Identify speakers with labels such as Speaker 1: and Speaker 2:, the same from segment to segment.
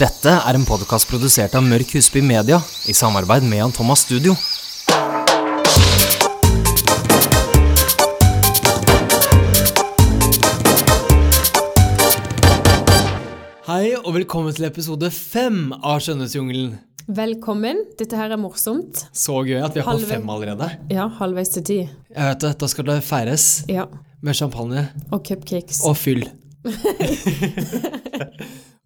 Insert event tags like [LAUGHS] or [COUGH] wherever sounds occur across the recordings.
Speaker 1: Dette er en podkast produsert av Mørk Husby Media i samarbeid med Jan Thomas Studio.
Speaker 2: Hei og velkommen til episode fem av Skjønnhetsjungelen.
Speaker 3: Velkommen. Dette her er morsomt.
Speaker 2: Så gøy at vi har
Speaker 3: Halve-
Speaker 2: fått fem allerede.
Speaker 3: Ja, halvveis til ti.
Speaker 2: Jeg vet det, Da skal det feires
Speaker 3: Ja.
Speaker 2: med champagne
Speaker 3: Og cupcakes.
Speaker 2: og fyll.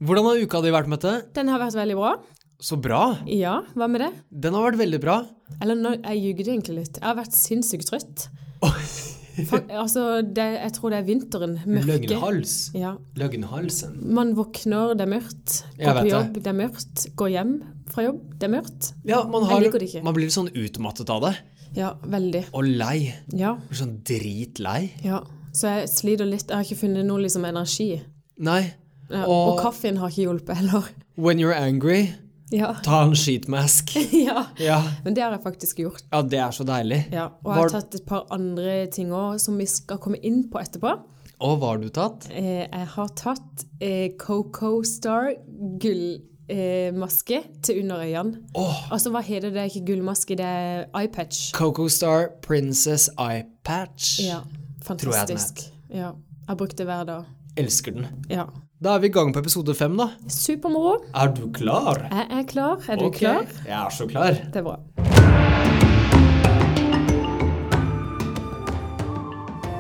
Speaker 2: Hvordan har uka di vært, Mette?
Speaker 3: Den har vært veldig bra.
Speaker 2: Så bra.
Speaker 3: Ja, hva med det?
Speaker 2: Den har vært veldig bra.
Speaker 3: Eller nå, jeg jugde egentlig litt. Jeg har vært sinnssykt trøtt. [LAUGHS] Fa- altså, det, jeg tror det er vinteren. Mørke.
Speaker 2: Løgnhals.
Speaker 3: Ja.
Speaker 2: Løgnhalsen.
Speaker 3: Man våkner, det er mørkt.
Speaker 2: Jeg
Speaker 3: Går
Speaker 2: vet
Speaker 3: på
Speaker 2: det.
Speaker 3: jobb, det er mørkt. Går hjem fra jobb, det er mørkt.
Speaker 2: Ja, man,
Speaker 3: Jeg
Speaker 2: har,
Speaker 3: liker det ikke.
Speaker 2: man blir litt sånn utmattet av det.
Speaker 3: Ja, veldig.
Speaker 2: Og lei.
Speaker 3: Ja.
Speaker 2: Blir Sånn dritlei.
Speaker 3: ja. Så jeg sliter litt. Jeg har ikke funnet noe liksom energi.
Speaker 2: Nei.
Speaker 3: Ja.
Speaker 2: Og-
Speaker 3: Og kaffen har ikke hjulpet heller. [LAUGHS]
Speaker 2: When you're angry,
Speaker 3: Ja. [LAUGHS]
Speaker 2: ta en sheetmask.
Speaker 3: ja.
Speaker 2: Ja.
Speaker 3: Men det har jeg faktisk gjort.
Speaker 2: ja, det er så deilig.
Speaker 3: Ja, og jeg
Speaker 2: Var-
Speaker 3: har tatt et par andre ting òg som vi skal komme inn på etterpå.
Speaker 2: Og hva har du tatt?
Speaker 3: Eh, jeg har tatt eh, Coco Star gullmaske eh, maske til under øynene.
Speaker 2: Åh.
Speaker 3: Altså, hva heter det? Det er ikke gullmaske, det er eyepatch.
Speaker 2: Coco Star Princess Eye Patch.
Speaker 3: Ja,
Speaker 2: Tror jeg den
Speaker 3: fantastisk. Ja, jeg har brukt det hver dag.
Speaker 2: Elsker den.
Speaker 3: Ja.
Speaker 2: Da er vi i gang på episode fem, da.
Speaker 3: Supermoro.
Speaker 2: Er du klar?
Speaker 3: Jeg er klar. Er du klar?
Speaker 2: Jeg er så klar.
Speaker 3: Det er bra.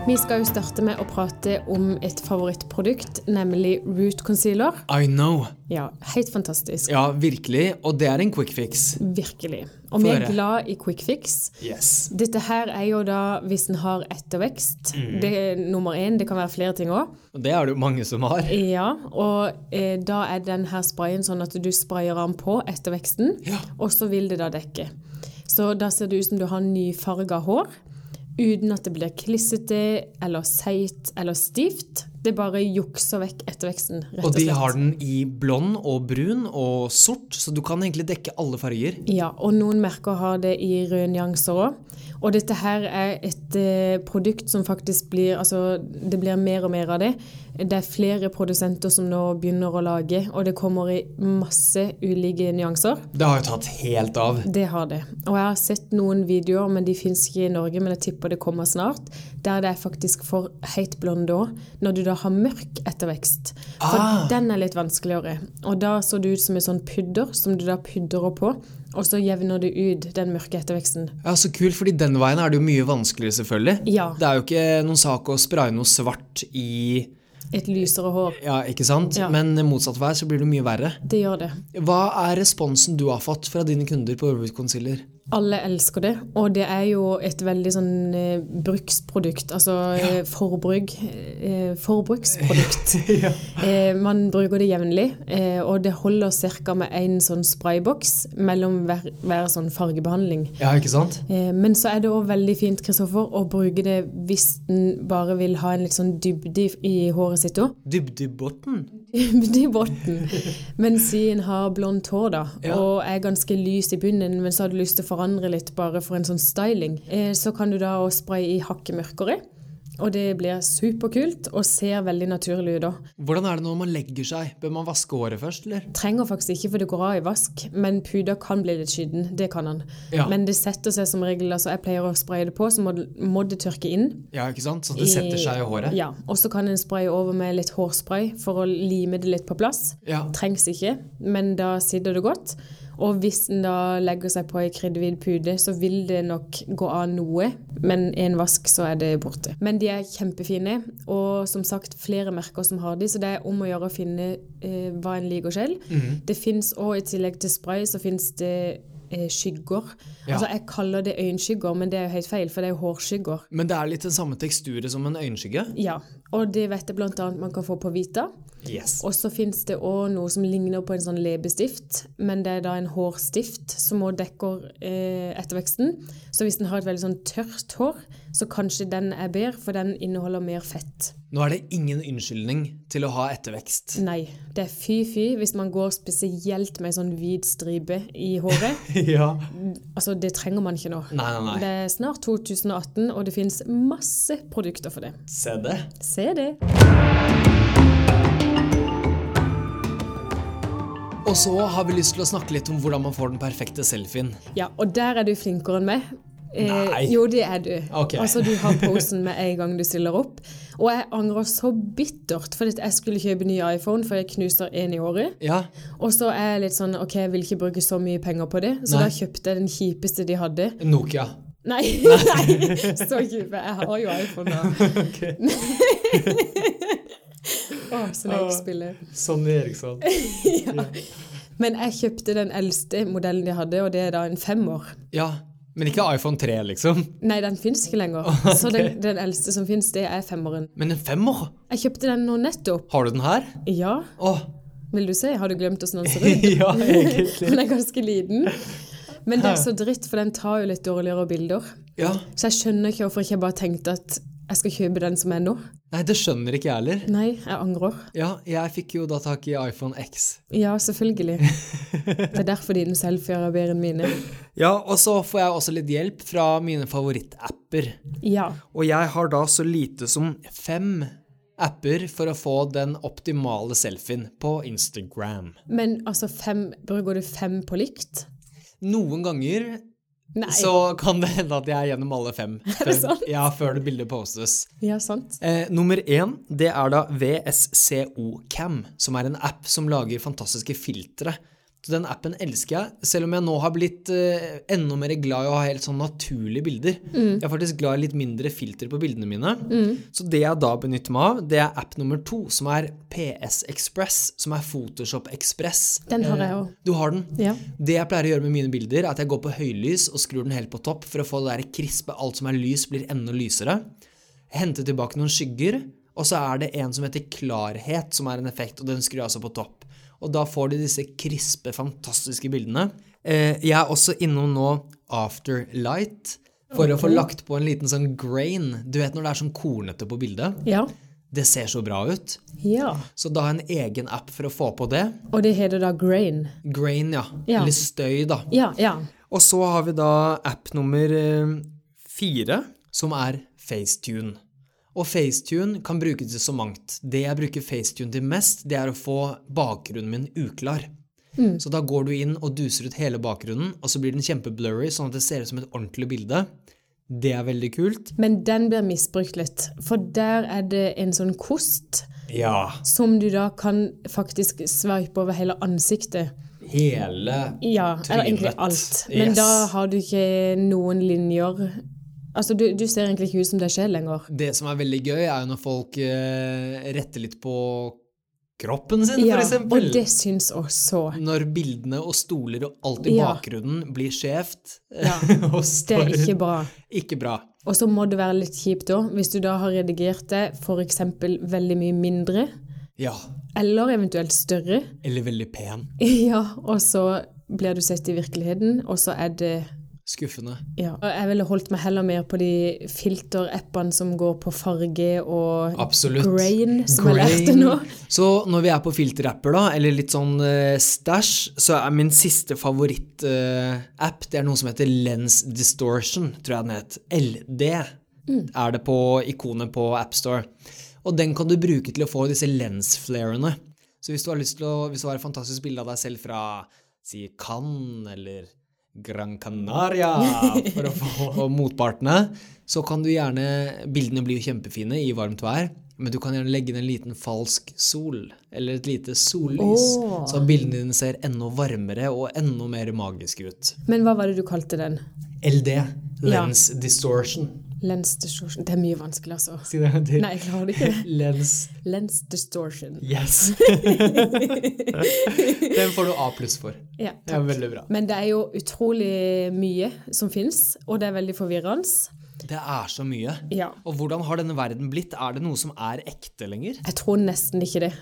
Speaker 3: Vi skal jo starte med å prate om et favorittprodukt, nemlig Root Concealer.
Speaker 2: I know.
Speaker 3: Ja, helt fantastisk.
Speaker 2: Ja, virkelig. Og det er en quick fix.
Speaker 3: Virkelig. Og vi
Speaker 2: Få
Speaker 3: er
Speaker 2: høre.
Speaker 3: glad i quick fix.
Speaker 2: Yes.
Speaker 3: Dette her er jo da hvis en har ettervekst.
Speaker 2: Mm.
Speaker 3: Det er nummer én. Det kan være flere ting òg.
Speaker 2: Og det er det jo mange som har.
Speaker 3: Ja, og eh, da er den her sprayen sånn at du sprayer den på etterveksten,
Speaker 2: Ja.
Speaker 3: og så vil det da dekke. Så da ser det ut som du har nyfarga hår, uten at det blir klissete eller seigt eller stivt. Det bare jukser vekk etterveksten, rett
Speaker 2: Og
Speaker 3: og
Speaker 2: de
Speaker 3: slett.
Speaker 2: har den i blond og brun og sort, så du kan egentlig dekke alle farger.
Speaker 3: Ja, og noen merker har det i røde nyanser òg. Og dette her er et eh, produkt som faktisk blir Altså, det blir mer og mer av det. Det er flere produsenter som nå begynner å lage, og det kommer i masse ulike nyanser.
Speaker 2: Det har jo tatt helt av.
Speaker 3: Det har det. Og jeg har sett noen videoer, men de fins ikke i Norge, men jeg tipper det kommer snart, der det er faktisk for helt blonde òg, når du da har mørk ettervekst. For
Speaker 2: Ah.
Speaker 3: den er litt vanskeligere. Og da så det ut som en sånn pudder, som du da pudrer på, og så jevner det ut den mørke etterveksten.
Speaker 2: Ja, Så kult, fordi den veien er det jo mye vanskeligere, selvfølgelig.
Speaker 3: Ja.
Speaker 2: Det er jo ikke noen sak å spraye noe svart i
Speaker 3: Et lysere hår.
Speaker 2: Ja, ikke sant?
Speaker 3: Ja.
Speaker 2: Men motsatt vei så blir det mye verre.
Speaker 3: Det gjør det.
Speaker 2: Hva er responsen du har fått fra dine kunder på Root
Speaker 3: [LAUGHS]
Speaker 2: Concealer?
Speaker 3: Alle elsker det, og det er jo et veldig sånn eh, bruksprodukt, altså eh, forbruk, eh, forbruksprodukt. eh, man bruker det jevnlig, eh, og det holder ca. med en sånn sprayboks mellom hver, hver sånn fargebehandling.
Speaker 2: Ja, ikke sant?
Speaker 3: Eh, men så er det òg veldig fint Kristoffer, å bruke det hvis en bare vil ha en litt sånn dybde i, i håret sitt òg.
Speaker 2: Dybdebotn.
Speaker 3: [LAUGHS] Dybde i bunnen. Men siden har blondt hår, da,
Speaker 2: Ja.
Speaker 3: og er ganske lys i bunnen, men så har du lyst til å forandre litt bare for en sånn styling, eh, så kan du da også spraye i hakket mørkere. Og det blir superkult og ser veldig naturlig ut da.
Speaker 2: Hvordan er det når man legger seg? Bør man vaske håret først, eller?
Speaker 3: Trenger faktisk ikke, for det går av i vask, men puder kan bli litt skitten. Det kan han.
Speaker 2: Ja.
Speaker 3: Men det setter seg som regel. altså Jeg pleier å spraye det på, så må det, må det tørke inn.
Speaker 2: Ja, ikke sant? Så det setter seg i håret?
Speaker 3: Ja. Og så kan en spraye over med litt hårspray for å lime det litt på plass.
Speaker 2: Ja.
Speaker 3: Trengs ikke, men da sitter det godt. Og hvis en da legger seg på ei kriddhvit pude, så vil det nok gå av noe, men i en vask så er det borte. Men de er kjempefine, og som sagt flere merker som har de, så det er om å gjøre å finne eh, hva en liker selv. Det fins òg, i tillegg til spray, så fins det eh, skygger.
Speaker 2: Ja.
Speaker 3: Altså jeg kaller det øyenskygger, men det er jo helt feil, for det er jo hårskygger.
Speaker 2: Men det er litt den samme teksturet som en øyenskygge?
Speaker 3: Ja, og det vet jeg blant annet man kan få på Vita.
Speaker 2: Yes.
Speaker 3: Og så finnes det òg noe som ligner på en sånn leppestift, men det er da en hårstift som òg dekker eh, etterveksten. Så hvis den har et veldig sånn tørt hår, så kanskje den er bedre, for den inneholder mer fett.
Speaker 2: Nå er det ingen unnskyldning til å ha ettervekst.
Speaker 3: Nei, det er fy-fy hvis man går spesielt med en sånn hvit stripe i
Speaker 2: [LAUGHS]
Speaker 3: håret.
Speaker 2: [LAUGHS] ja.
Speaker 3: Altså, det trenger man ikke nå.
Speaker 2: Nei, nei, nei.
Speaker 3: Det er snart 2018, og det finnes masse produkter for det.
Speaker 2: Se det.
Speaker 3: Se det!
Speaker 2: Og så har vi lyst til å snakke litt om hvordan man får den perfekte selfien.
Speaker 3: Ja, og der er du flinkere enn meg. Eh,
Speaker 2: Nei.
Speaker 3: Jo, det er du.
Speaker 2: Ok.
Speaker 3: Altså, du har posen med en gang du stiller opp. Og jeg angrer så bittert, for jeg skulle kjøpe ny iPhone, for jeg knuser én i året.
Speaker 2: Ja,
Speaker 3: Og så er jeg litt sånn OK, jeg vil ikke bruke så mye penger på det, så
Speaker 2: Nei.
Speaker 3: da kjøpte jeg den kjipeste de hadde.
Speaker 2: Nokia.
Speaker 3: Nei, [LAUGHS] nei, så kjipe. Jeg har jo iPhone
Speaker 2: [LAUGHS]
Speaker 3: da. Å, så leit spiller.
Speaker 2: Sonny Eriksson.
Speaker 3: Men jeg kjøpte den eldste modellen de hadde, og det er da en femår.
Speaker 2: [LAUGHS] Ja, men ikke iPhone 3, liksom.
Speaker 3: Nei, den fins ikke lenger. Så den, den eldste som fins, det er femmeren.
Speaker 2: Men en femmer?
Speaker 3: Jeg kjøpte den nå nettopp.
Speaker 2: Har du den her?
Speaker 3: Ja,
Speaker 2: Å,
Speaker 3: vil du se? Har du glemt åssen den ser ut?
Speaker 2: [LAUGHS]
Speaker 3: [LAUGHS]
Speaker 2: ja, egentlig.
Speaker 3: Den er ganske liten. Men det er så dritt, for den tar jo litt dårligere bilder.
Speaker 2: [LAUGHS] Ja.
Speaker 3: Så jeg skjønner ikke hvorfor ikke jeg bare tenkte at jeg skal kjøpe den som er nå.
Speaker 2: Nei, det skjønner ikke jeg heller.
Speaker 3: Nei, jeg angrer.
Speaker 2: Ja, jeg fikk jo da tak i iPhone X.
Speaker 3: Ja, selvfølgelig. Det er derfor dine selfier er bedre enn mine.
Speaker 2: Ja, og så får jeg også litt hjelp fra mine favorittapper.
Speaker 3: Ja.
Speaker 2: Og jeg har da så lite som fem apper for å få den optimale selfien på Instagram.
Speaker 3: Men altså, fem Bruker du fem på likt?
Speaker 2: Noen ganger
Speaker 3: Nei.
Speaker 2: så kan det hende at jeg er gjennom alle fem.
Speaker 3: det sant?
Speaker 2: Ja, før det bildet postes.
Speaker 3: Ja, sant.
Speaker 2: Eh, nummer én, det er da VSCO Cam, som er en app som lager fantastiske filtre. Så den appen elsker jeg, selv om jeg nå har blitt eh, enda mer glad i å ha helt sånn naturlige bilder.
Speaker 3: Mm.
Speaker 2: Jeg er faktisk glad i litt mindre filter på bildene mine. Så det jeg da benytter meg av, det er app nummer to, som er PS Express, som er Photoshop Express. Eh,
Speaker 3: Den har jeg òg.
Speaker 2: Du har den?
Speaker 3: Ja.
Speaker 2: Det jeg pleier å gjøre med mine bilder, er at jeg går på høylys og skrur den helt på topp for å få det der krispe alt som er lys, blir enda lysere. Hente tilbake noen skygger, og så er det en som heter klarhet, som er en effekt, og den skrur jeg altså på topp. Og da får du disse krispe, fantastiske bildene. Eh, jeg er også innom nå afterlight for å få lagt på en liten sånn grain. Du vet når det er sånn kornete på bildet?
Speaker 3: Ja.
Speaker 2: Det ser så bra ut.
Speaker 3: ja.
Speaker 2: Så da har jeg en egen app for å få på det.
Speaker 3: Og det heter da Grain.
Speaker 2: Grain, ja.
Speaker 3: Ja.
Speaker 2: Eller støy, da.
Speaker 3: Ja, ja.
Speaker 2: Og så har vi da app nummer eh, fire, som er FaceTune. Og FaceTune kan brukes til så mangt. Det jeg bruker FaceTune til mest, det er å få bakgrunnen min uklar.
Speaker 3: Mm.
Speaker 2: Så da går du inn og duser ut hele bakgrunnen, og så blir den kjempeblurry, sånn at det ser ut som et ordentlig bilde. Det er veldig kult.
Speaker 3: Men den blir misbrukt litt. For der er det en sånn kost
Speaker 2: Ja.
Speaker 3: som du da kan faktisk sveipe over hele ansiktet.
Speaker 2: Hele
Speaker 3: Ja, eller egentlig
Speaker 2: Trynet.
Speaker 3: alt. Men
Speaker 2: Yes.
Speaker 3: da har du ikke noen linjer Altså, du, du ser egentlig ikke ut som deg selv lenger.
Speaker 2: Det som er veldig gøy, er jo når folk eh, retter litt på kroppen sin,
Speaker 3: Ja,
Speaker 2: for eksempel.
Speaker 3: og det syns også.
Speaker 2: Når bildene og stoler og alt i
Speaker 3: Ja.
Speaker 2: bakgrunnen blir skjevt
Speaker 3: Ja,
Speaker 2: [LAUGHS] og
Speaker 3: Det
Speaker 2: står
Speaker 3: er ikke bra.
Speaker 2: Ikke bra.
Speaker 3: Og så må det være litt kjipt òg, hvis du da har redigert det f.eks. veldig mye mindre,
Speaker 2: Ja.
Speaker 3: eller eventuelt større, [LAUGHS]
Speaker 2: Eller veldig pen.
Speaker 3: ja, og så blir du sett i virkeligheten, og så er det
Speaker 2: Skuffende.
Speaker 3: Ja. Og Jeg ville holdt meg heller mer på de filterappene som går på farge og
Speaker 2: Absolutt.
Speaker 3: grain, som jeg lærte
Speaker 2: Grain.
Speaker 3: nå.
Speaker 2: Så når vi er på filterapper, da, eller litt sånn eh, stæsj, så er min siste favorittapp Det er noe som heter Lens Distortion, tror jeg den het. LD
Speaker 3: Mm.
Speaker 2: er det på ikonet på AppStore. Og den kan du bruke til å få disse lensflarene. Så hvis du har lyst til å Hvis du har et fantastisk bilde av deg selv fra si Cannes eller Gran Canaria for å [LAUGHS] få motpartene, så kan du gjerne Bildene blir jo kjempefine i varmt vær, men du kan gjerne legge inn en liten falsk sol, eller et lite sollys,
Speaker 3: Åh.
Speaker 2: så bildene dine ser enda varmere og enda mer magiske ut.
Speaker 3: Men hva var det du kalte den?
Speaker 2: LD,
Speaker 3: Ja.
Speaker 2: lens distortion.
Speaker 3: Lens distortion. Det er mye vanskelig, altså.
Speaker 2: [LAUGHS] Si det en gang til.
Speaker 3: Nei, jeg klarer det ikke.
Speaker 2: Lens
Speaker 3: Lens distortion.
Speaker 2: Yes. [LAUGHS] Den får du A pluss for.
Speaker 3: Ja,
Speaker 2: Det er
Speaker 3: takk.
Speaker 2: veldig bra.
Speaker 3: Men det er jo utrolig mye som fins, og det er veldig forvirrende.
Speaker 2: Det er så mye.
Speaker 3: Ja.
Speaker 2: Og hvordan har denne verden blitt? Er det noe som er ekte lenger?
Speaker 3: Jeg tror nesten ikke det.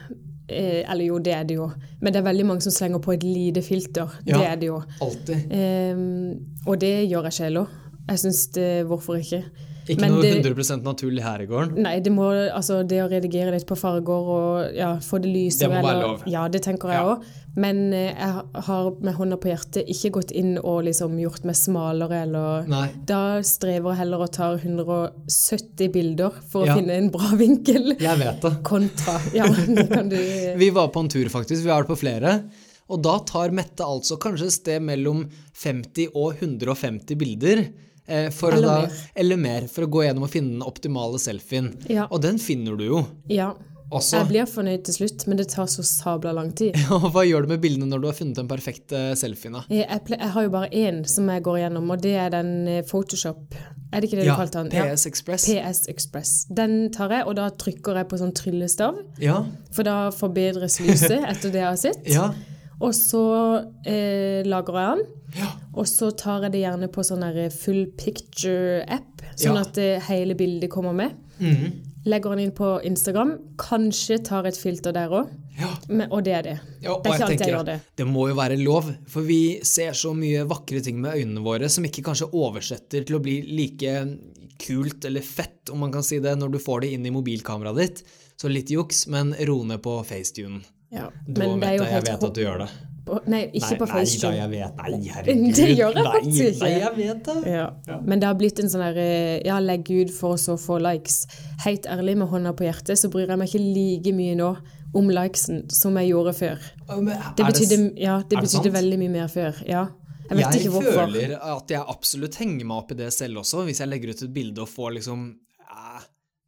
Speaker 3: Eh, eller jo, det er det jo. Men det er veldig mange som slenger på et lite filter.
Speaker 2: Ja.
Speaker 3: Det er det jo.
Speaker 2: Alltid.
Speaker 3: Ehm, og det gjør jeg selv òg. Jeg syns det Hvorfor ikke?
Speaker 2: Ikke
Speaker 3: Men
Speaker 2: noe
Speaker 3: det-
Speaker 2: 100 naturlig her i gården.
Speaker 3: Nei, det må altså det å redigere litt på farger og ja, få
Speaker 2: Det
Speaker 3: det lysere
Speaker 2: må være
Speaker 3: eller-
Speaker 2: lov.
Speaker 3: Ja, det tenker jeg
Speaker 2: Ja.
Speaker 3: òg. Men eh, jeg har med hånda på hjertet ikke gått inn og liksom gjort meg smalere eller
Speaker 2: Nei.
Speaker 3: Da strever jeg heller og tar 170 bilder for
Speaker 2: Ja.
Speaker 3: å finne en bra vinkel.
Speaker 2: Jeg vet det.
Speaker 3: Kontra. Ja, det kan du
Speaker 2: [LAUGHS] Vi var på en tur, faktisk. Vi har vært på flere. Og da tar Mette altså kanskje et sted mellom 50 og 150 bilder. eh, For å
Speaker 3: Eller
Speaker 2: da,
Speaker 3: mer.
Speaker 2: eller mer, for å gå gjennom og finne den optimale selfien.
Speaker 3: Ja.
Speaker 2: Og den finner du jo
Speaker 3: Ja.
Speaker 2: også.
Speaker 3: Jeg blir fornøyd til slutt, men det tar så sabla lang tid.
Speaker 2: [LAUGHS] Og hva gjør du med bildene når du har funnet den perfekte selfien? da?
Speaker 3: Jeg, jeg, ple jeg har jo bare én som jeg går gjennom, og det er den eh, Photoshop. Er det ikke det du kalte den?
Speaker 2: PS Express.
Speaker 3: Ja. PS Express. Den tar jeg, og da trykker jeg på sånn tryllestav,
Speaker 2: Ja.
Speaker 3: for da
Speaker 2: [LAUGHS]
Speaker 3: forbedres lyset etter det jeg har sett.
Speaker 2: ja.
Speaker 3: Og så eh, lagrer jeg den, og så tar jeg det gjerne på sånn der full picture-app, sånn
Speaker 2: Ja.
Speaker 3: at eh, hele bildet kommer med.
Speaker 2: Mm.
Speaker 3: Legger den inn på Instagram. Kanskje tar et filter der òg,
Speaker 2: ja.
Speaker 3: og det er det.
Speaker 2: Ja, og
Speaker 3: det er ikke alltid jeg
Speaker 2: tenker
Speaker 3: gjør
Speaker 2: at
Speaker 3: det.
Speaker 2: Det må jo være lov, for vi ser så mye vakre ting med øynene våre som ikke kanskje oversetter til å bli like kult eller fett, om man kan si det, når du får det inn i mobilkameraet ditt. Så litt juks, men ro ned på FaceTune.
Speaker 3: Ja.
Speaker 2: Du og Mette, jeg vet at du gjør det.
Speaker 3: På- Nei, ikke på
Speaker 2: nei da,
Speaker 3: FaceTune.
Speaker 2: jeg vet Nei, herregud.
Speaker 3: [LAUGHS] Det gjør jeg
Speaker 2: Nei,
Speaker 3: faktisk ikke.
Speaker 2: Nei, jeg vet det.
Speaker 3: ja. Men det har blitt en sånn der eh, ja, legg ut for så få likes. Helt ærlig, med hånda på hjertet, så bryr jeg meg ikke like mye nå om likesen som jeg gjorde før.
Speaker 2: Men
Speaker 3: Det
Speaker 2: er
Speaker 3: betydde, ja, det
Speaker 2: er det
Speaker 3: betydde
Speaker 2: sant?
Speaker 3: veldig mye mer før. Ja. Jeg vet ikke hvorfor.
Speaker 2: føler at jeg absolutt henger meg opp i det selv også, hvis jeg legger ut et bilde og får liksom eh,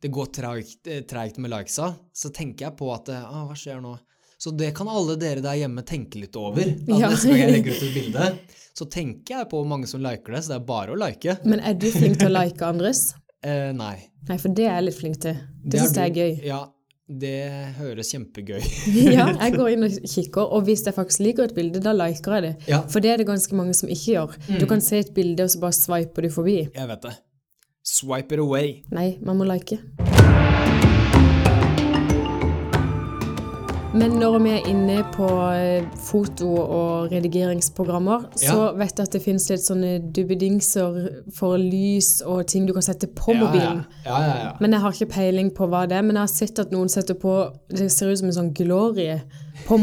Speaker 2: Det går tregt, eh, tregt med likesa, så tenker jeg på at eh, ah, Hva skjer nå? Så det kan alle dere der hjemme tenke litt over. At
Speaker 3: Ja.
Speaker 2: Neste gang jeg legger ut et bilde,
Speaker 3: [LAUGHS]
Speaker 2: så tenker jeg på hvor mange som liker det, så det er bare å like.
Speaker 3: Men er du flink til å like andres?
Speaker 2: Eh, nei.
Speaker 3: Nei, for det er jeg litt flink til. Det, synes
Speaker 2: er
Speaker 3: jeg er
Speaker 2: du-
Speaker 3: gøy. [LAUGHS]
Speaker 2: Ja, det høres kjempegøy [LAUGHS]
Speaker 3: Ja, jeg går inn og kikker, og hvis jeg faktisk liker et bilde, da liker jeg det.
Speaker 2: Ja. Mm.
Speaker 3: For det er det ganske mange som ikke gjør. Du kan se et bilde, og så bare sveiper du forbi.
Speaker 2: Jeg vet det. Swipe it away.
Speaker 3: Nei, man må like. Men når vi er inne på eh, foto- og redigeringsprogrammer, så
Speaker 2: Ja.
Speaker 3: vet jeg at det finnes litt sånne dubbedingser for lys og ting du kan sette på mobilen.
Speaker 2: Ja, ja, ja.
Speaker 3: Men jeg har ikke peiling på hva det er. Men jeg har sett at noen setter på Det ser ut som en sånn glorie på
Speaker 2: [LAUGHS]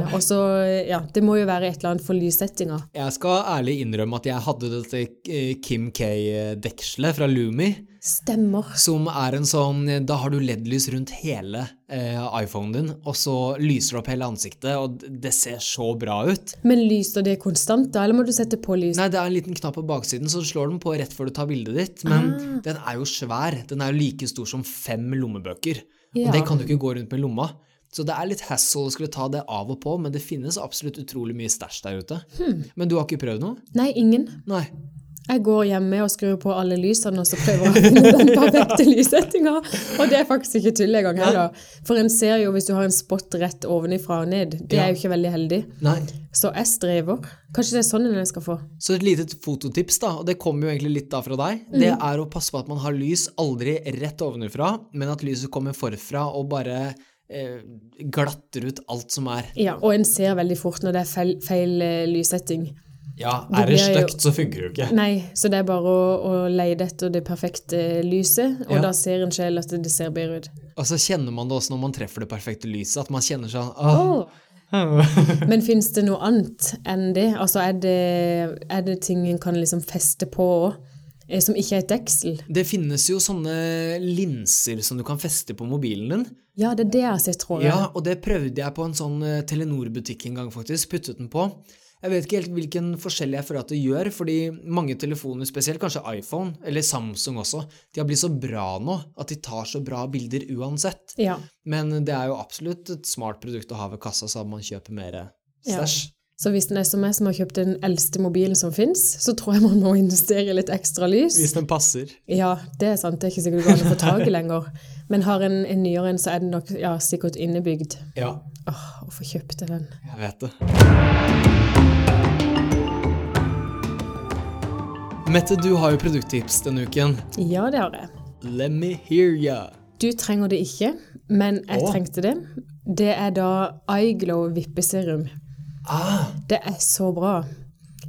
Speaker 2: Ja.
Speaker 3: Og så, eh, ja, det må jo være et eller annet for lyssettinga.
Speaker 2: Jeg skal ærlig innrømme at jeg hadde dette eh, Kim K-dekselet fra Lumi,
Speaker 3: Stemmer.
Speaker 2: som er en sånn Da har du LED-lys rundt hele eh, iPhonen din, og så lyser det opp hele ansiktet, og d- det ser så bra ut.
Speaker 3: Men lyser det konstant, da? Eller må du sette på lys?
Speaker 2: Nei, det er en liten knapp på baksiden, så du slår den på rett før du tar bildet ditt, men den er jo svær. Den er jo like stor som fem lommebøker,
Speaker 3: Ja.
Speaker 2: og det kan du ikke gå rundt med i lomma. Så det er litt hassle å skulle ta det av og på, men det finnes absolutt utrolig mye stæsj der ute. Men du har ikke prøvd noe?
Speaker 3: Nei, ingen.
Speaker 2: Nei.
Speaker 3: Jeg går hjemme og skrur på alle lysene og så prøver jeg å finne den perfekte lyssettinga. Og det er faktisk ikke tull engang heller. For en ser jo hvis du har en spot rett ovenifra og ned. Det
Speaker 2: Ja.
Speaker 3: er jo ikke veldig heldig.
Speaker 2: Nei.
Speaker 3: Så jeg strever. Kanskje det er sånn en jeg skal få.
Speaker 2: Så et lite fototips, da, og det kommer jo egentlig litt da fra deg, det
Speaker 3: Mm.
Speaker 2: er å passe på at man har lys aldri rett ovenfra, men at lyset kommer forfra og bare eh, glatter ut alt som er.
Speaker 3: Ja, og en ser veldig fort når det er feil, feil eh, lyssetting.
Speaker 2: Ja,
Speaker 3: Det blir jo-
Speaker 2: støkt, så funker det jo ikke.
Speaker 3: Nei, så det er bare å, å leide etter det perfekte lyset, og
Speaker 2: Ja.
Speaker 3: da ser en sjel at det ser bedre ut.
Speaker 2: Og så kjenner man det også når man treffer det perfekte lyset, at man kjenner sånn Åh,
Speaker 3: Men fins det noe annet enn det? Altså, er det, er det ting en kan liksom feste på òg, som ikke er et deksel?
Speaker 2: Det finnes jo sånne linser som du kan feste på mobilen din.
Speaker 3: Ja, det er det jeg har sett, tror jeg.
Speaker 2: Ja, og det prøvde jeg på en sånn eh, Telenor-butikk en gang, faktisk. Puttet den på. Jeg vet ikke helt hvilken forskjell jeg føler at det gjør, fordi mange telefoner, spesielt kanskje iPhone, eller Samsung også, de har blitt så bra nå at de tar så bra bilder uansett.
Speaker 3: Ja.
Speaker 2: Men det er jo absolutt et smart produkt å ha ved kassa, så man kjøper mer stæsj.
Speaker 3: Så hvis det er som meg som har kjøpt den eldste mobilen som fins, så tror jeg man må investere i litt ekstra lys.
Speaker 2: Hvis den passer.
Speaker 3: Ja, det er sant. Det er ikke sikkert du går an å få tak i lenger. Men har en, en nyere en, så er den nok ja, sikkert innebygd.
Speaker 2: Ja,
Speaker 3: Åh, hvorfor kjøpte jeg den?
Speaker 2: jeg vet det. Mette, du har jo produkttips denne uken.
Speaker 3: Ja, det har jeg.
Speaker 2: Let me hear ya.
Speaker 3: Du trenger det ikke, men jeg
Speaker 2: Åh.
Speaker 3: trengte det. Det er da Eyeglow vippeserum.
Speaker 2: Ah,
Speaker 3: Det er så bra.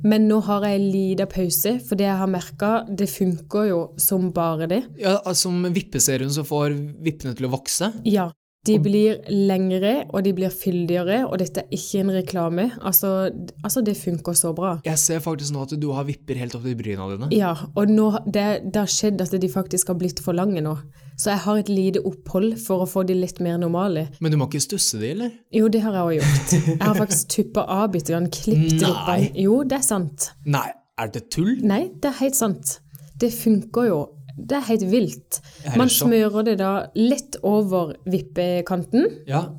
Speaker 3: Men nå har jeg en liten pause, for det jeg har merka, det funker jo som bare det.
Speaker 2: Ja, altså, Som vippeserien som får vippene til å vokse?
Speaker 3: Ja. De blir lengre, og de blir fyldigere, og dette er ikke en reklame. Altså, d- altså det funker så bra.
Speaker 2: Jeg ser faktisk nå at du har vipper helt opp til bryna dine.
Speaker 3: Ja, og nå, det, det har skjedd at de faktisk har blitt for lange nå. Så jeg har et lite opphold for å få de litt mer normale.
Speaker 2: Men du må ikke stusse de, eller?
Speaker 3: Jo, det har jeg også gjort. Jeg har faktisk tuppa av bitte grann, klippet
Speaker 2: Nei.
Speaker 3: lippene. Jo, det er sant.
Speaker 2: Nei, er det tull?
Speaker 3: Nei, det er helt sant. Det funker jo. Det er helt vilt.
Speaker 2: er
Speaker 3: Man
Speaker 2: i sjokk.
Speaker 3: smører det da lett over vippekanten.
Speaker 2: Ja.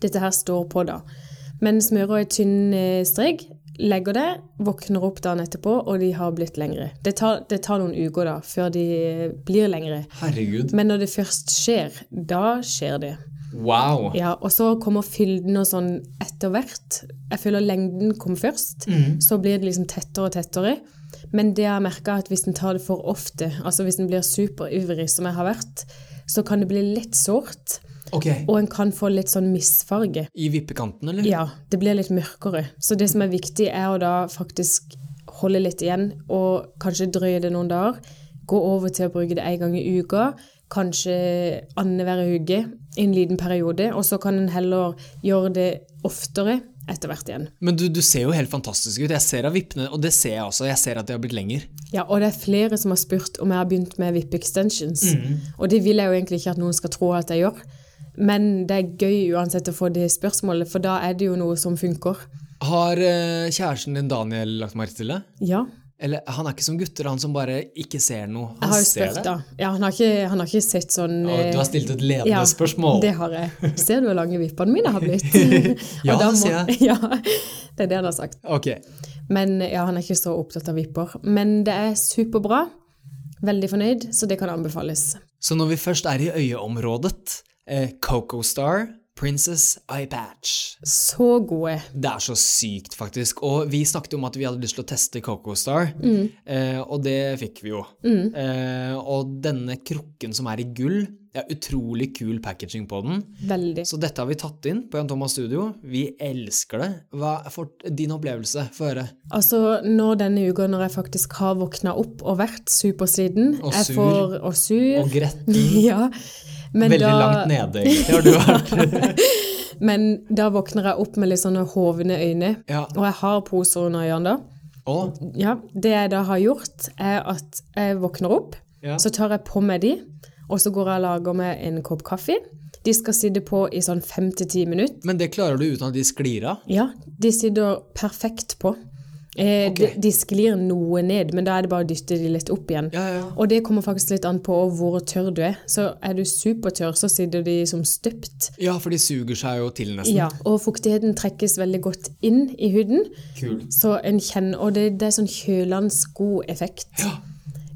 Speaker 3: Dette her står på, da. Men smører i tynn eh, strek, legger det, våkner opp dagen etterpå, og de har blitt lengre. Det tar, det tar noen uker da, før de eh, blir lengre.
Speaker 2: Herregud.
Speaker 3: Men når det først skjer, da skjer det.
Speaker 2: Wow.
Speaker 3: Ja, og så kommer fylden og sånn etter hvert. Jeg føler lengden kom først, så blir det liksom tettere og tettere. Men det jeg har merka, at hvis en tar det for ofte, altså hvis en blir superivrig, som jeg har vært, så kan det bli litt sårt,
Speaker 2: Ok.
Speaker 3: og en kan få litt sånn misfarge.
Speaker 2: I vippekanten, eller?
Speaker 3: Ja, det blir litt mørkere. Så det som er viktig, er å da faktisk holde litt igjen, og kanskje drøye det noen dager. Gå over til å bruke det en gang i uka, kanskje annenhver uke i en liten periode. Og så kan en heller gjøre det oftere etter hvert igjen.
Speaker 2: Men du, du ser jo helt fantastisk ut. Jeg ser av vippene, og det ser jeg også. Jeg ser at de har blitt lenger.
Speaker 3: Ja, og det er flere som har spurt om jeg har begynt med VIP extensions. Og det vil jeg jo egentlig ikke at noen skal tro at jeg gjør. Men det er gøy uansett å få det spørsmålet, for da er det jo noe som funker.
Speaker 2: Har eh, kjæresten din Daniel lagt merke til det?
Speaker 3: Ja.
Speaker 2: Eller han er ikke som gutter, han som bare ikke ser noe.
Speaker 3: Jeg
Speaker 2: Han
Speaker 3: har jo
Speaker 2: ser
Speaker 3: spurt,
Speaker 2: det.
Speaker 3: da. Ja, han har ikke, han har ikke sett sånn
Speaker 2: Og
Speaker 3: eh,
Speaker 2: du har stilt et ledende
Speaker 3: ja,
Speaker 2: spørsmål.
Speaker 3: Det har jeg. Ser du hvor lange vippene mine
Speaker 2: [LAUGHS]
Speaker 3: har blitt?
Speaker 2: Ja,
Speaker 3: [LAUGHS] Og da må-
Speaker 2: sier
Speaker 3: Ja, det er det han har sagt.
Speaker 2: Ok.
Speaker 3: Men ja, han er ikke så opptatt av vipper. Men det er superbra. Veldig fornøyd, så det kan anbefales.
Speaker 2: Så når vi først er i øyeområdet, eh, Coco Star, Princess Eye Patch.
Speaker 3: Så gode.
Speaker 2: Det er så sykt, faktisk. Og vi snakket om at vi hadde lyst til å teste Coco Star,
Speaker 3: Mm.
Speaker 2: eh, og det fikk vi jo. Eh, og denne krukken som er i gull, det er utrolig kul packaging på den.
Speaker 3: Veldig.
Speaker 2: Så dette har vi tatt inn på Jan Thomas Studio. Vi elsker det. Hva er for, din opplevelse? Få høre.
Speaker 3: Altså, når denne uka, når jeg faktisk har våkna opp og vært super siden
Speaker 2: Og
Speaker 3: jeg
Speaker 2: sur.
Speaker 3: Får, og sur.
Speaker 2: Og gretten.
Speaker 3: [LAUGHS] ja. Men
Speaker 2: Veldig
Speaker 3: da-
Speaker 2: langt nede, egentlig, har du vært. [LAUGHS]
Speaker 3: Men da våkner jeg opp med litt sånne hovne øyne.
Speaker 2: Ja.
Speaker 3: Og jeg har poser under øynene da.
Speaker 2: Og
Speaker 3: Ja, det jeg da har gjort, er at jeg våkner opp,
Speaker 2: Ja.
Speaker 3: så tar jeg på meg de, og så går jeg og lager meg en kopp kaffe. De skal sitte på i sånn fem til ti minutter.
Speaker 2: Men det klarer du uten at de sklir av?
Speaker 3: Ja, de sitter perfekt på. Eh, de, de sklir noe ned, men da er det bare å dytte de litt opp igjen.
Speaker 2: Ja, ja.
Speaker 3: Og det kommer faktisk litt an på hvor tørr du er. Så er du supertørr, så sitter de som støpt.
Speaker 2: Ja, for de suger seg jo til, nesten.
Speaker 3: Ja, og fuktigheten trekkes veldig godt inn i huden.
Speaker 2: Kult.
Speaker 3: Så en kjenner, og det, det er sånn kjølende god effekt.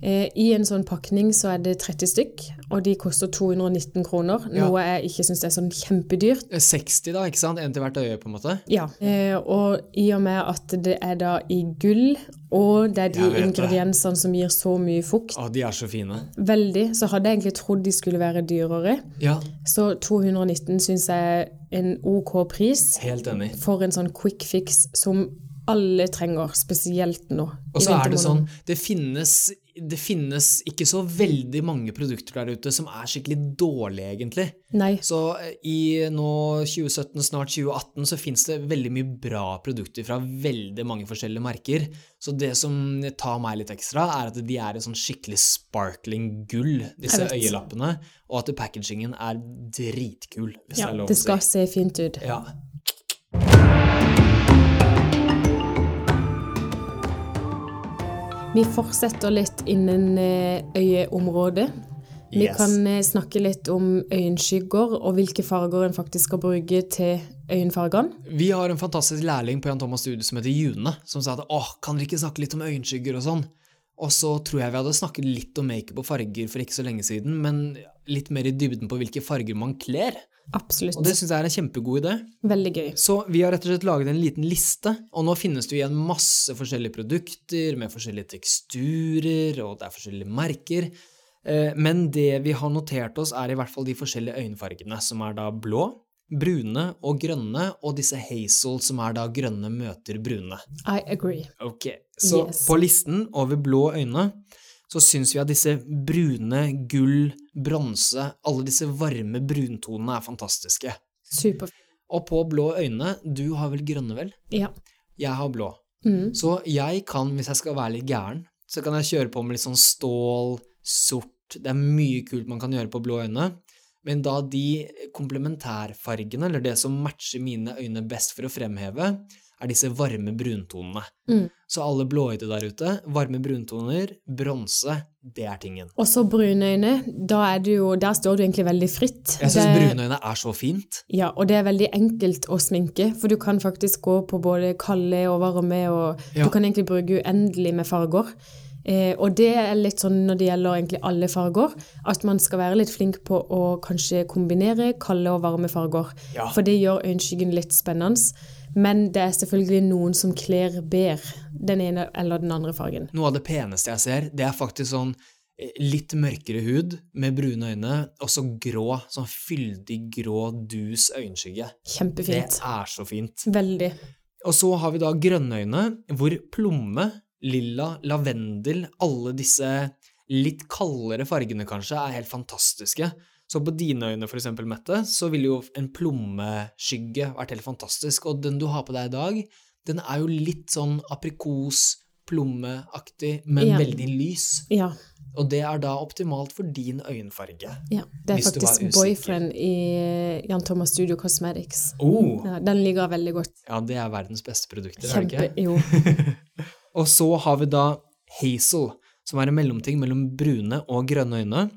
Speaker 3: Eh, I en sånn pakning så er det 30 stykk, og de koster 219 kroner.
Speaker 2: Ja.
Speaker 3: Noe jeg ikke syns er sånn kjempedyrt.
Speaker 2: 60, Eh, da, ikke sant? En til hvert øye, på en måte?
Speaker 3: Ja, eh, og i og med at det er da i gull, og det er de
Speaker 2: Jeg vet det.
Speaker 3: ingrediensene som gir så mye fukt,
Speaker 2: Å, de er så fine.
Speaker 3: veldig, så hadde jeg egentlig trodd de skulle være dyrere.
Speaker 2: Ja,
Speaker 3: Så 219 syns jeg er en OK pris.
Speaker 2: helt enig.
Speaker 3: for en sånn quick fix som alle trenger, spesielt nå. i
Speaker 2: Og så er det sånn,
Speaker 3: vintermånedene.
Speaker 2: det finnes, det finnes ikke så veldig mange produkter der ute som er skikkelig dårlige, egentlig.
Speaker 3: Nei.
Speaker 2: Så eh, i nå 2017, snart 2018, så finnes det veldig mye bra produkter fra veldig mange forskjellige merker. Så det som tar meg litt ekstra, er at de er i sånn skikkelig sparkling gull, disse
Speaker 3: Jeg vet.
Speaker 2: øyelappene, og at packagingen er dritkul, hvis det
Speaker 3: Ja,
Speaker 2: er lov
Speaker 3: det
Speaker 2: å si.
Speaker 3: skal se fint ut.
Speaker 2: Ja.
Speaker 3: Vi fortsetter litt innen eh, øyeområdet. Vi
Speaker 2: Yes.
Speaker 3: kan eh, snakke litt om øyenskygger og hvilke farger en faktisk skal bruke til øyenfargene.
Speaker 2: Vi har en fantastisk lærling på Jan Thomas Studio som heter June, som sa at åh, kan dere ikke snakke litt om øyenskygger og sånn? Og så tror jeg vi hadde snakket litt om makeup og farger for ikke så lenge siden, men litt mer i dybden på hvilke farger man kler.
Speaker 3: Absolutt.
Speaker 2: Og det syns jeg er en kjempegod idé.
Speaker 3: Veldig gøy.
Speaker 2: Så vi har rett og slett laget en liten liste, og nå finnes det jo igjen masse forskjellige produkter med forskjellige teksturer, og det er forskjellige merker. Eh, Men det vi har notert oss, er i hvert fall de forskjellige øyenfargene, som er da blå, brune og grønne, og disse hazel, som er da grønne møter brune.
Speaker 3: I agree.
Speaker 2: Ok, så
Speaker 3: Yes.
Speaker 2: på listen over blå øyne så syns vi at disse brune, gull, bronse, alle disse varme bruntonene er fantastiske.
Speaker 3: Super.
Speaker 2: Og på blå øyne, du har vel grønne, vel?
Speaker 3: Ja.
Speaker 2: Jeg har blå.
Speaker 3: Mm.
Speaker 2: Så jeg kan, hvis jeg skal være litt gæren, så kan jeg kjøre på med litt sånn stål, sort Det er mye kult man kan gjøre på blå øyne. Men da de komplementærfargene, eller det som matcher mine øyne best for å fremheve, er disse varme bruntonene.
Speaker 3: Mm.
Speaker 2: Så alle blåøyde der ute, varme bruntoner, bronse, det er tingen.
Speaker 3: Og så brune øyne. Da er du jo, der står du egentlig veldig fritt.
Speaker 2: Jeg syns
Speaker 3: Det-
Speaker 2: brune øyne er så fint.
Speaker 3: Ja, og det er veldig enkelt å sminke, for du kan faktisk gå på både kalde og varme, og
Speaker 2: Ja.
Speaker 3: du kan egentlig bruke uendelig med farger. Eh, og det er litt sånn når det gjelder egentlig alle farger, at man skal være litt flink på å kanskje kombinere kalde og varme farger,
Speaker 2: Ja.
Speaker 3: for det gjør øyenskyggen litt spennende. Men det er selvfølgelig noen som kler bedre den ene eller den andre fargen.
Speaker 2: Noe av det peneste jeg ser, det er faktisk sånn eh, litt mørkere hud med brune øyne, og så grå, sånn fyldig grå, dus øyenskygge.
Speaker 3: Kjempefint.
Speaker 2: Det er så fint.
Speaker 3: Veldig.
Speaker 2: Og så har vi da grønne øyne, hvor plomme, lilla, lavendel, alle disse litt kaldere fargene kanskje, er helt fantastiske. Så på dine øyne, for eksempel, Mette, så ville jo en plommeskygge vært helt fantastisk. Og den du har på deg i dag, den er jo litt sånn aprikos, plommeaktig, men
Speaker 3: Ja.
Speaker 2: veldig lys.
Speaker 3: Ja.
Speaker 2: Og det er da optimalt for din øyenfarge.
Speaker 3: ja. Det er
Speaker 2: Hvis du var
Speaker 3: faktisk
Speaker 2: usikker.
Speaker 3: boyfriend i eh, Jan Thomas Studio Cosmetics.
Speaker 2: Oh.
Speaker 3: Ja, den ligger veldig godt.
Speaker 2: Ja, det er verdens beste produkter, er det ikke?
Speaker 3: Kjempe, jo.
Speaker 2: Og så har vi da hazel, som er en mellomting mellom brune og grønne øyne.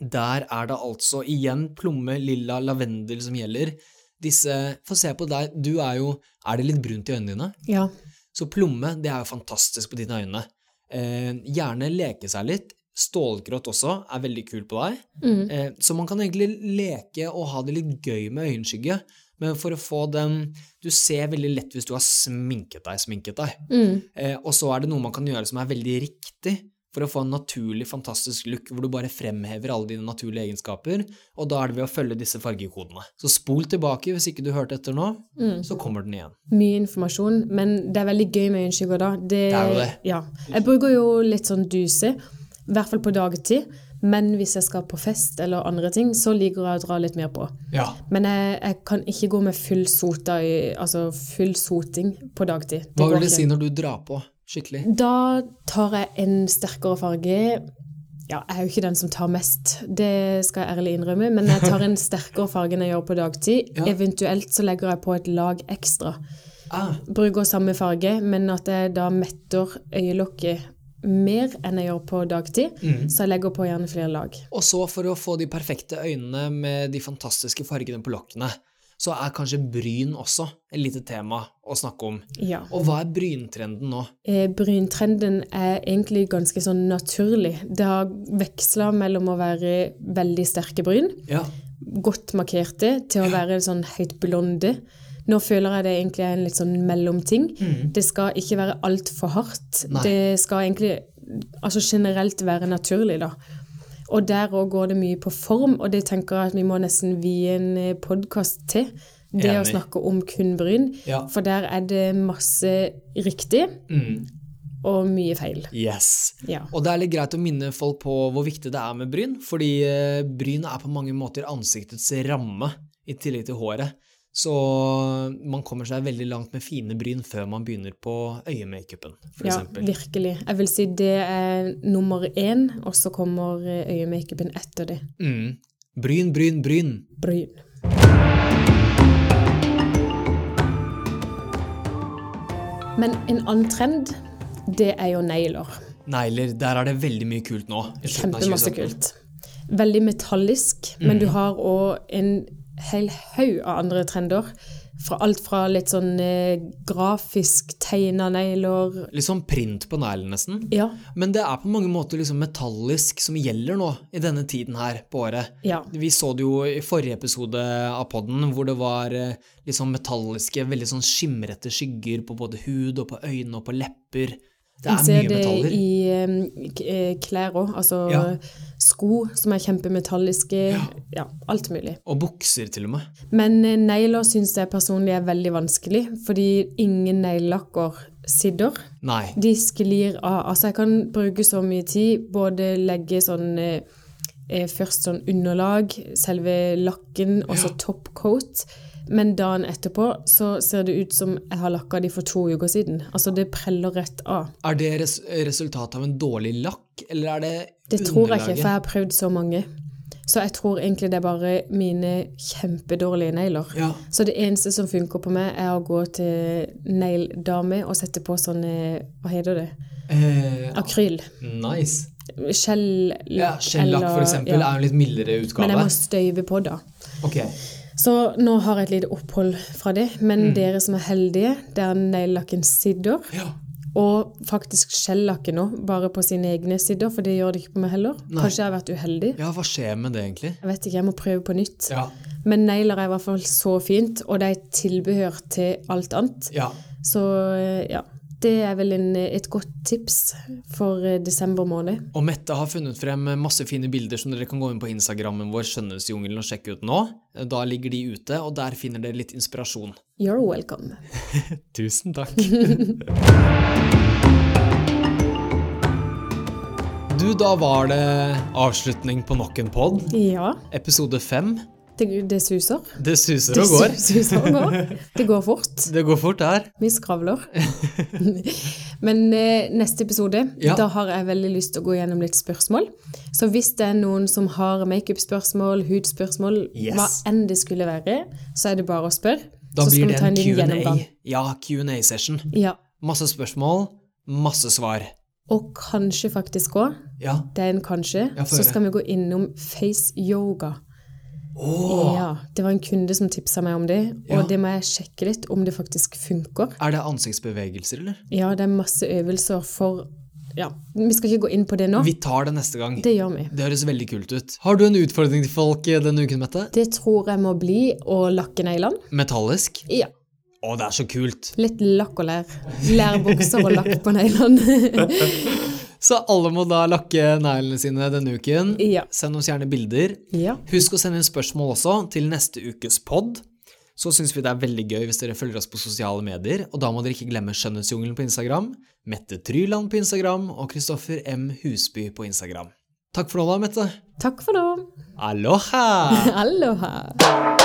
Speaker 2: Der er det altså igjen plomme, lilla, lavendel som gjelder. Disse Få se på deg, du er jo Er det litt brunt i øynene dine?
Speaker 3: Ja.
Speaker 2: Så plomme, det er jo fantastisk på dine øyne. Eh, gjerne leke seg litt. Stålgrått også er veldig kult på deg.
Speaker 3: Mm.
Speaker 2: Eh, Så man kan egentlig leke og ha det litt gøy med øyenskygge, men for å få den Du ser veldig lett hvis du har sminket deg, sminket deg.
Speaker 3: Mm.
Speaker 2: Eh, og så er det noe man kan gjøre som er veldig riktig, for å få en naturlig, fantastisk look hvor du bare fremhever alle dine naturlige egenskaper, og da er det ved å følge disse fargekodene. Så spol tilbake hvis ikke du hørte etter nå,
Speaker 3: Mm.
Speaker 2: så kommer den igjen.
Speaker 3: Mye informasjon, men det er veldig gøy med øyenskygger da. Det,
Speaker 2: er jo det.
Speaker 3: Ja. Jeg bruker jo litt sånn duse, i hvert fall på dagtid. Men hvis jeg skal på fest eller andre ting, så liker jeg å dra litt mer på.
Speaker 2: Ja.
Speaker 3: Men jeg, jeg kan ikke gå med full, sota i, altså full soting på dagtid.
Speaker 2: Hva
Speaker 3: går
Speaker 2: vil det si
Speaker 3: ikke.
Speaker 2: når du drar på skikkelig?
Speaker 3: Da tar jeg en sterkere farge. Ja, jeg er jo ikke den som tar mest, det skal jeg ærlig innrømme, men jeg tar en sterkere farge enn jeg gjør på dagtid.
Speaker 2: Ja.
Speaker 3: Eventuelt så legger jeg på et lag ekstra.
Speaker 2: Ah,
Speaker 3: Bruker samme farge, men at jeg da metter øyelokket mer enn jeg gjør på dagtid, så jeg legger på gjerne flere lag.
Speaker 2: Og så for å få de perfekte øynene med de fantastiske fargene på lokkene, så er kanskje bryn også et lite tema å snakke om.
Speaker 3: Ja.
Speaker 2: Og hva er bryntrenden nå?
Speaker 3: Eh, Bryntrenden er egentlig ganske sånn naturlig. Det har veksla mellom å være veldig sterke bryn
Speaker 2: Ja.
Speaker 3: godt markerte til å være sånn høyt blonde. Nå føler jeg det egentlig er en litt sånn mellomting. Det skal ikke være altfor hardt.
Speaker 2: Mm. Nei.
Speaker 3: Det skal egentlig altså generelt være naturlig, da. Og der òg går det mye på form, og det tenker jeg at vi må nesten vie en podkast til. Det å
Speaker 2: Enig.
Speaker 3: snakke om kun bryn.
Speaker 2: Ja.
Speaker 3: For der er det masse riktig og mye feil.
Speaker 2: Mm, Yes.
Speaker 3: Ja.
Speaker 2: Og det er litt greit å minne folk på hvor viktig det er med bryn, fordi eh, bryn er på mange måter ansiktets ramme i tillegg til håret. Så man kommer seg veldig langt med fine bryn før man begynner på øyemakeupen, for
Speaker 3: Ja,
Speaker 2: eksempel.
Speaker 3: virkelig. Jeg vil si det er nummer én, og så kommer eh, øyemakeupen etter det.
Speaker 2: Mm. Bryn, bryn, bryn.
Speaker 3: Bryn. Men en annen trend, det er jo negler.
Speaker 2: Negler, der er det veldig mye kult nå. i slutten av
Speaker 3: Kjempemasse
Speaker 2: 2017.
Speaker 3: kult. Veldig metallisk, men
Speaker 2: Mm.
Speaker 3: du har òg en hel haug av andre trender. Fra alt fra litt sånn eh, grafisk tegna negler
Speaker 2: Litt sånn print på neglen, nesten.
Speaker 3: Ja.
Speaker 2: Men det er på mange måter liksom metallisk som gjelder nå, i denne tiden her på året.
Speaker 3: Ja.
Speaker 2: Vi så det jo i forrige episode av podden, hvor det var eh, litt sånn metalliske, veldig sånn skimrete skygger på både hud og på øyne og på lepper. Det er
Speaker 3: jeg ser
Speaker 2: mye
Speaker 3: det
Speaker 2: metaller.
Speaker 3: i eh, k- eh, klær òg. Altså
Speaker 2: Ja.
Speaker 3: sko som er kjempemetalliske. Ja, alt mulig.
Speaker 2: Og bukser, til og med.
Speaker 3: Men eh, negler syns jeg personlig er veldig vanskelig, fordi ingen neglelakker sitter.
Speaker 2: Nei.
Speaker 3: De sklir av. Altså, jeg kan bruke så mye tid, både legge sånn eh, eh, Først sånn underlag, selve lakken, og så top coat. Men dagen etterpå så ser det ut som jeg har lakka de for to uker siden. Altså, det preller rett av.
Speaker 2: Er det res resultatet av en dårlig lakk, eller er det
Speaker 3: Det tror jeg ikke, for jeg
Speaker 2: underlaget?
Speaker 3: har prøvd så mange. Så jeg tror egentlig det er bare mine kjempedårlige negler.
Speaker 2: Ja.
Speaker 3: Så det eneste som funker på meg, er å gå til negledame og sette på sånne Hva heter det?
Speaker 2: Eh,
Speaker 3: Akryl.
Speaker 2: nice.
Speaker 3: Skjell-lakk.
Speaker 2: Ja, Skjellakk, for eksempel, er jo en litt mildere utgave.
Speaker 3: Men jeg må støyve på, da.
Speaker 2: Ok.
Speaker 3: Så nå har jeg et lite opphold fra det.
Speaker 2: Mm.
Speaker 3: Men dere som er heldige, der neglelakken sitter,
Speaker 2: Ja.
Speaker 3: og faktisk skjellakken òg, bare på sine egne sider, for det gjør det ikke på meg heller. Kanskje jeg har vært uheldig.
Speaker 2: ja, hva skjer med det, egentlig?
Speaker 3: Jeg vet ikke, jeg må prøve på nytt.
Speaker 2: Ja.
Speaker 3: Men negler er i hvert fall så fint, og det er et tilbehør til alt annet.
Speaker 2: Ja.
Speaker 3: Så eh, ja, det er vel en, eh, et godt tips for eh, desember måned.
Speaker 2: Og Mette har funnet frem masse fine bilder som dere kan gå inn på Instagrammen vår, Skjønnhetsjungelen, og sjekke ut nå. Da ligger de ute, og der finner dere litt inspirasjon.
Speaker 3: You're welcome.
Speaker 2: Tusen takk. [LAUGHS] du, da var det avslutning på nok en pod.
Speaker 3: Ja,
Speaker 2: Episode fem.
Speaker 3: det, det suser.
Speaker 2: Det suser
Speaker 3: [LAUGHS] Det
Speaker 2: og går.
Speaker 3: suser og går. Det går fort.
Speaker 2: Det går fort her.
Speaker 3: Vi skravler.
Speaker 2: [LAUGHS]
Speaker 3: Men eh, neste episode,
Speaker 2: Ja.
Speaker 3: da har jeg veldig lyst til å gå gjennom litt spørsmål. Så hvis det er noen som har makeup-spørsmål, hudspørsmål,
Speaker 2: Yes.
Speaker 3: hva enn det skulle være, så er det bare å spørre.
Speaker 2: Da
Speaker 3: så
Speaker 2: blir
Speaker 3: skal vi
Speaker 2: det
Speaker 3: ta
Speaker 2: en
Speaker 3: en liten
Speaker 2: Q&A.
Speaker 3: gjennomgang.
Speaker 2: Ja, Q&A-session.
Speaker 3: Ja.
Speaker 2: Masse spørsmål, masse svar.
Speaker 3: Og kanskje faktisk òg,
Speaker 2: Ja.
Speaker 3: det er en kanskje,
Speaker 2: Ja, få
Speaker 3: så
Speaker 2: høre.
Speaker 3: skal vi gå innom face yoga. Ja, det var en kunde som tipsa meg om det, og
Speaker 2: Ja.
Speaker 3: det må jeg sjekke litt om det faktisk funker.
Speaker 2: Er det ansiktsbevegelser, eller?
Speaker 3: Ja, det er masse øvelser for Ja, vi skal ikke gå inn på det nå.
Speaker 2: Vi tar det neste gang.
Speaker 3: Det gjør vi.
Speaker 2: Det høres veldig kult ut. Har du en utfordring til folk eh, denne uken, Mette?
Speaker 3: Det tror jeg må bli å lakke neglene.
Speaker 2: Metallisk?
Speaker 3: Ja.
Speaker 2: Å, det er så kult.
Speaker 3: Litt lakk og lær. Lærbukser og lakk på neglene.
Speaker 2: Så alle må da lakke neglene sine denne uken.
Speaker 3: Ja.
Speaker 2: Send oss gjerne bilder.
Speaker 3: [LAUGHS] ja.
Speaker 2: Husk å sende inn spørsmål også til neste ukes pod. Så syns vi det er veldig gøy hvis dere følger oss på sosiale medier, og da må dere ikke glemme Skjønnhetsjungelen på Instagram, Mette Tryland på Instagram og Kristoffer M. Husby på Instagram. Takk for nå, da, Mette.
Speaker 3: Takk for nå.
Speaker 2: Aloha!
Speaker 3: Aloha.